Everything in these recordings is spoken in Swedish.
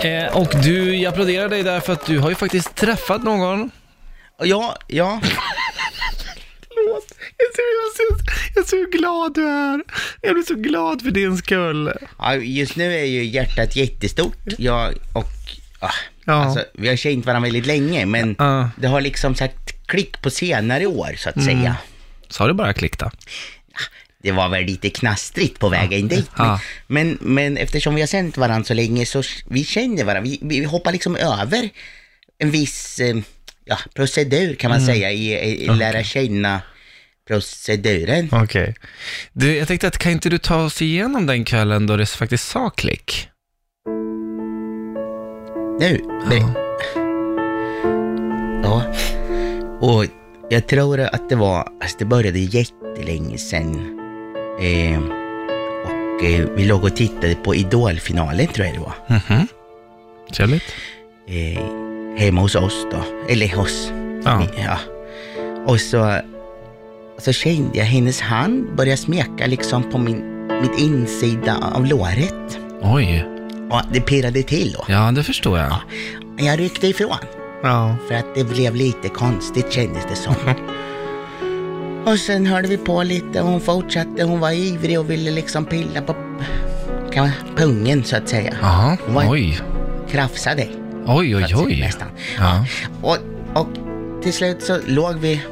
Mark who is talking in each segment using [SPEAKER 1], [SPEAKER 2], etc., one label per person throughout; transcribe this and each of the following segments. [SPEAKER 1] Eh, och du, jag applåderar dig där för att du har ju faktiskt träffat någon.
[SPEAKER 2] Ja, ja.
[SPEAKER 3] Förlåt. Jag ser, jag, ser, jag ser hur glad du är. Jag blir så glad för din skull.
[SPEAKER 2] ja, just nu är ju hjärtat jättestort. Jag och... Ah,
[SPEAKER 3] Ja.
[SPEAKER 2] Alltså, vi har känt varandra väldigt länge, men
[SPEAKER 1] Ja. Mm.
[SPEAKER 2] det har liksom sagt klick på senare år, så att säga.
[SPEAKER 1] Sa du bara klick då?
[SPEAKER 2] Det var väl lite knastrigt på vägen dit. Men,
[SPEAKER 1] Ja.
[SPEAKER 2] men, men eftersom vi har känt varandra så länge så s- vi känner varandra. Vi, vi hoppar liksom över en viss eh, ja, procedur kan man
[SPEAKER 1] Mm.
[SPEAKER 2] säga i, i, i lära känna proceduren.
[SPEAKER 3] Okej.
[SPEAKER 1] Du, jag tänkte att kan inte du ta oss igenom den kvällen då det faktiskt sa klick?
[SPEAKER 2] Nu. Ja. ja. Och jag tror att det var, alltså det började jättelänge sedan. Eh, och eh, vi låg och tittade på Idolfinalen tror jag det var.
[SPEAKER 1] Mhm. Trevligt.
[SPEAKER 2] Eh, hemma hos oss då. Eller hos
[SPEAKER 1] Ja.
[SPEAKER 2] Ja. Och så, så kände jag hennes hand börja smeka liksom på min, mitt insida av låret.
[SPEAKER 1] Oj.
[SPEAKER 2] Och det pirrade till då.
[SPEAKER 1] Ja, det förstår jag.
[SPEAKER 2] Men Jag ryckte ifrån.
[SPEAKER 3] Ja.
[SPEAKER 2] För att det blev lite konstigt kändes det som. och sen hörde vi på lite och hon fortsatte. Hon var ivrig och ville liksom pilla på kan man, pungen så att säga.
[SPEAKER 1] Jaha.
[SPEAKER 2] Hon var
[SPEAKER 1] Oj.
[SPEAKER 2] krafsade.
[SPEAKER 1] Oj, oj,
[SPEAKER 2] så att säga,
[SPEAKER 1] oj.
[SPEAKER 2] Nästan.
[SPEAKER 1] Ja.
[SPEAKER 2] Och, och till slut så låg vi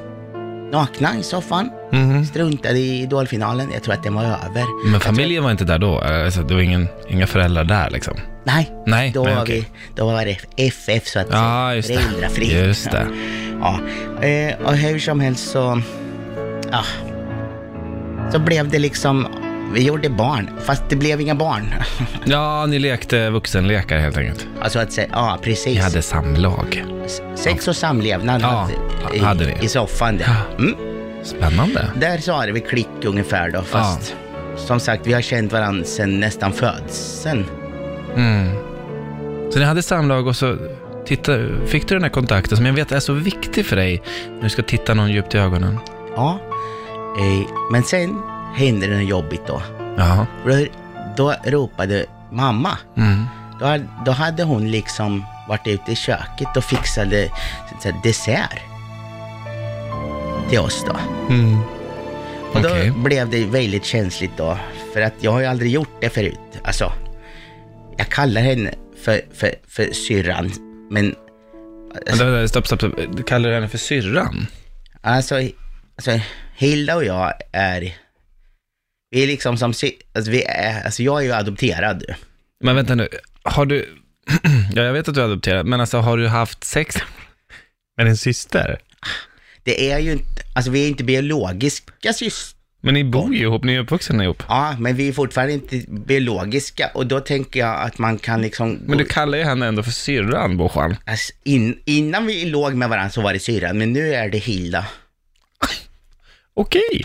[SPEAKER 2] nakna i soffan.
[SPEAKER 3] Mhm.
[SPEAKER 2] Struntade i idolfinalen. Jag tror att den var över.
[SPEAKER 1] Men familjen var inte där då? Alltså, det var ingen, inga föräldrar där liksom?
[SPEAKER 2] Nej,
[SPEAKER 1] Nej,
[SPEAKER 2] då,
[SPEAKER 1] nej,
[SPEAKER 2] var
[SPEAKER 1] okej.
[SPEAKER 2] vi, då var det FF så att
[SPEAKER 1] Ja,
[SPEAKER 2] Alltså,
[SPEAKER 1] just det.
[SPEAKER 2] Föräldrafritt.
[SPEAKER 1] Just det.
[SPEAKER 2] Ja. Eh, och hur som helst så... Ja. Så blev det liksom... Vi gjorde barn, fast det blev inga barn.
[SPEAKER 1] Ja, ni lekte vuxenlekar helt enkelt.
[SPEAKER 2] Alltså att säga, ja precis.
[SPEAKER 1] Ni hade samlag.
[SPEAKER 2] S- Sex och samlevnad
[SPEAKER 1] Ja,
[SPEAKER 2] hade- i,
[SPEAKER 1] hade vi.
[SPEAKER 2] i soffan där. Mm.
[SPEAKER 1] Spännande.
[SPEAKER 2] Där sa det vi klick ungefär då, fast som sagt vi har känt varandra sedan nästan födseln.
[SPEAKER 1] Mm. Så ni hade samlag och så titta, fick du den här kontakten som jag vet är så viktig för dig. Nu ska titta någon djupt i ögonen.
[SPEAKER 2] Ja. Eh, men sen hände det något jobbigt då.
[SPEAKER 1] Ja.
[SPEAKER 2] Och Då, då ropade mamma.
[SPEAKER 1] Mm.
[SPEAKER 2] Då, då hade hon liksom varit ute i köket och fixade så att säga, dessert till oss då.
[SPEAKER 3] Mm.
[SPEAKER 2] Och
[SPEAKER 1] Okej.
[SPEAKER 2] då blev det väldigt känsligt då, för att jag har ju aldrig gjort det förut. Alltså, jag kallar henne för, för, för syrran, men
[SPEAKER 1] Vänta, vänta, Stopp, stopp, stopp. Du kallar henne för syrran?
[SPEAKER 2] Alltså, alltså Hilda och jag är, vi är liksom som, sy- alltså, vi är, alltså jag är ju adopterad.
[SPEAKER 1] Men vänta nu, har du... ja, jag vet att du är adopterad, men alltså har du haft sex?
[SPEAKER 3] Men en syster?
[SPEAKER 2] Det är ju inte, alltså vi är inte biologiska syskon,
[SPEAKER 1] Men ni bor ju ihop, ni är uppvuxna ihop.
[SPEAKER 2] ja, men vi är fortfarande inte biologiska och då tänker jag att man kan liksom,
[SPEAKER 1] Men du kallar ju henne ändå för syrran, Bojan.
[SPEAKER 2] alltså, in, innan vi låg med varandra så var det syrran, men nu är det Hilda.
[SPEAKER 1] Okej.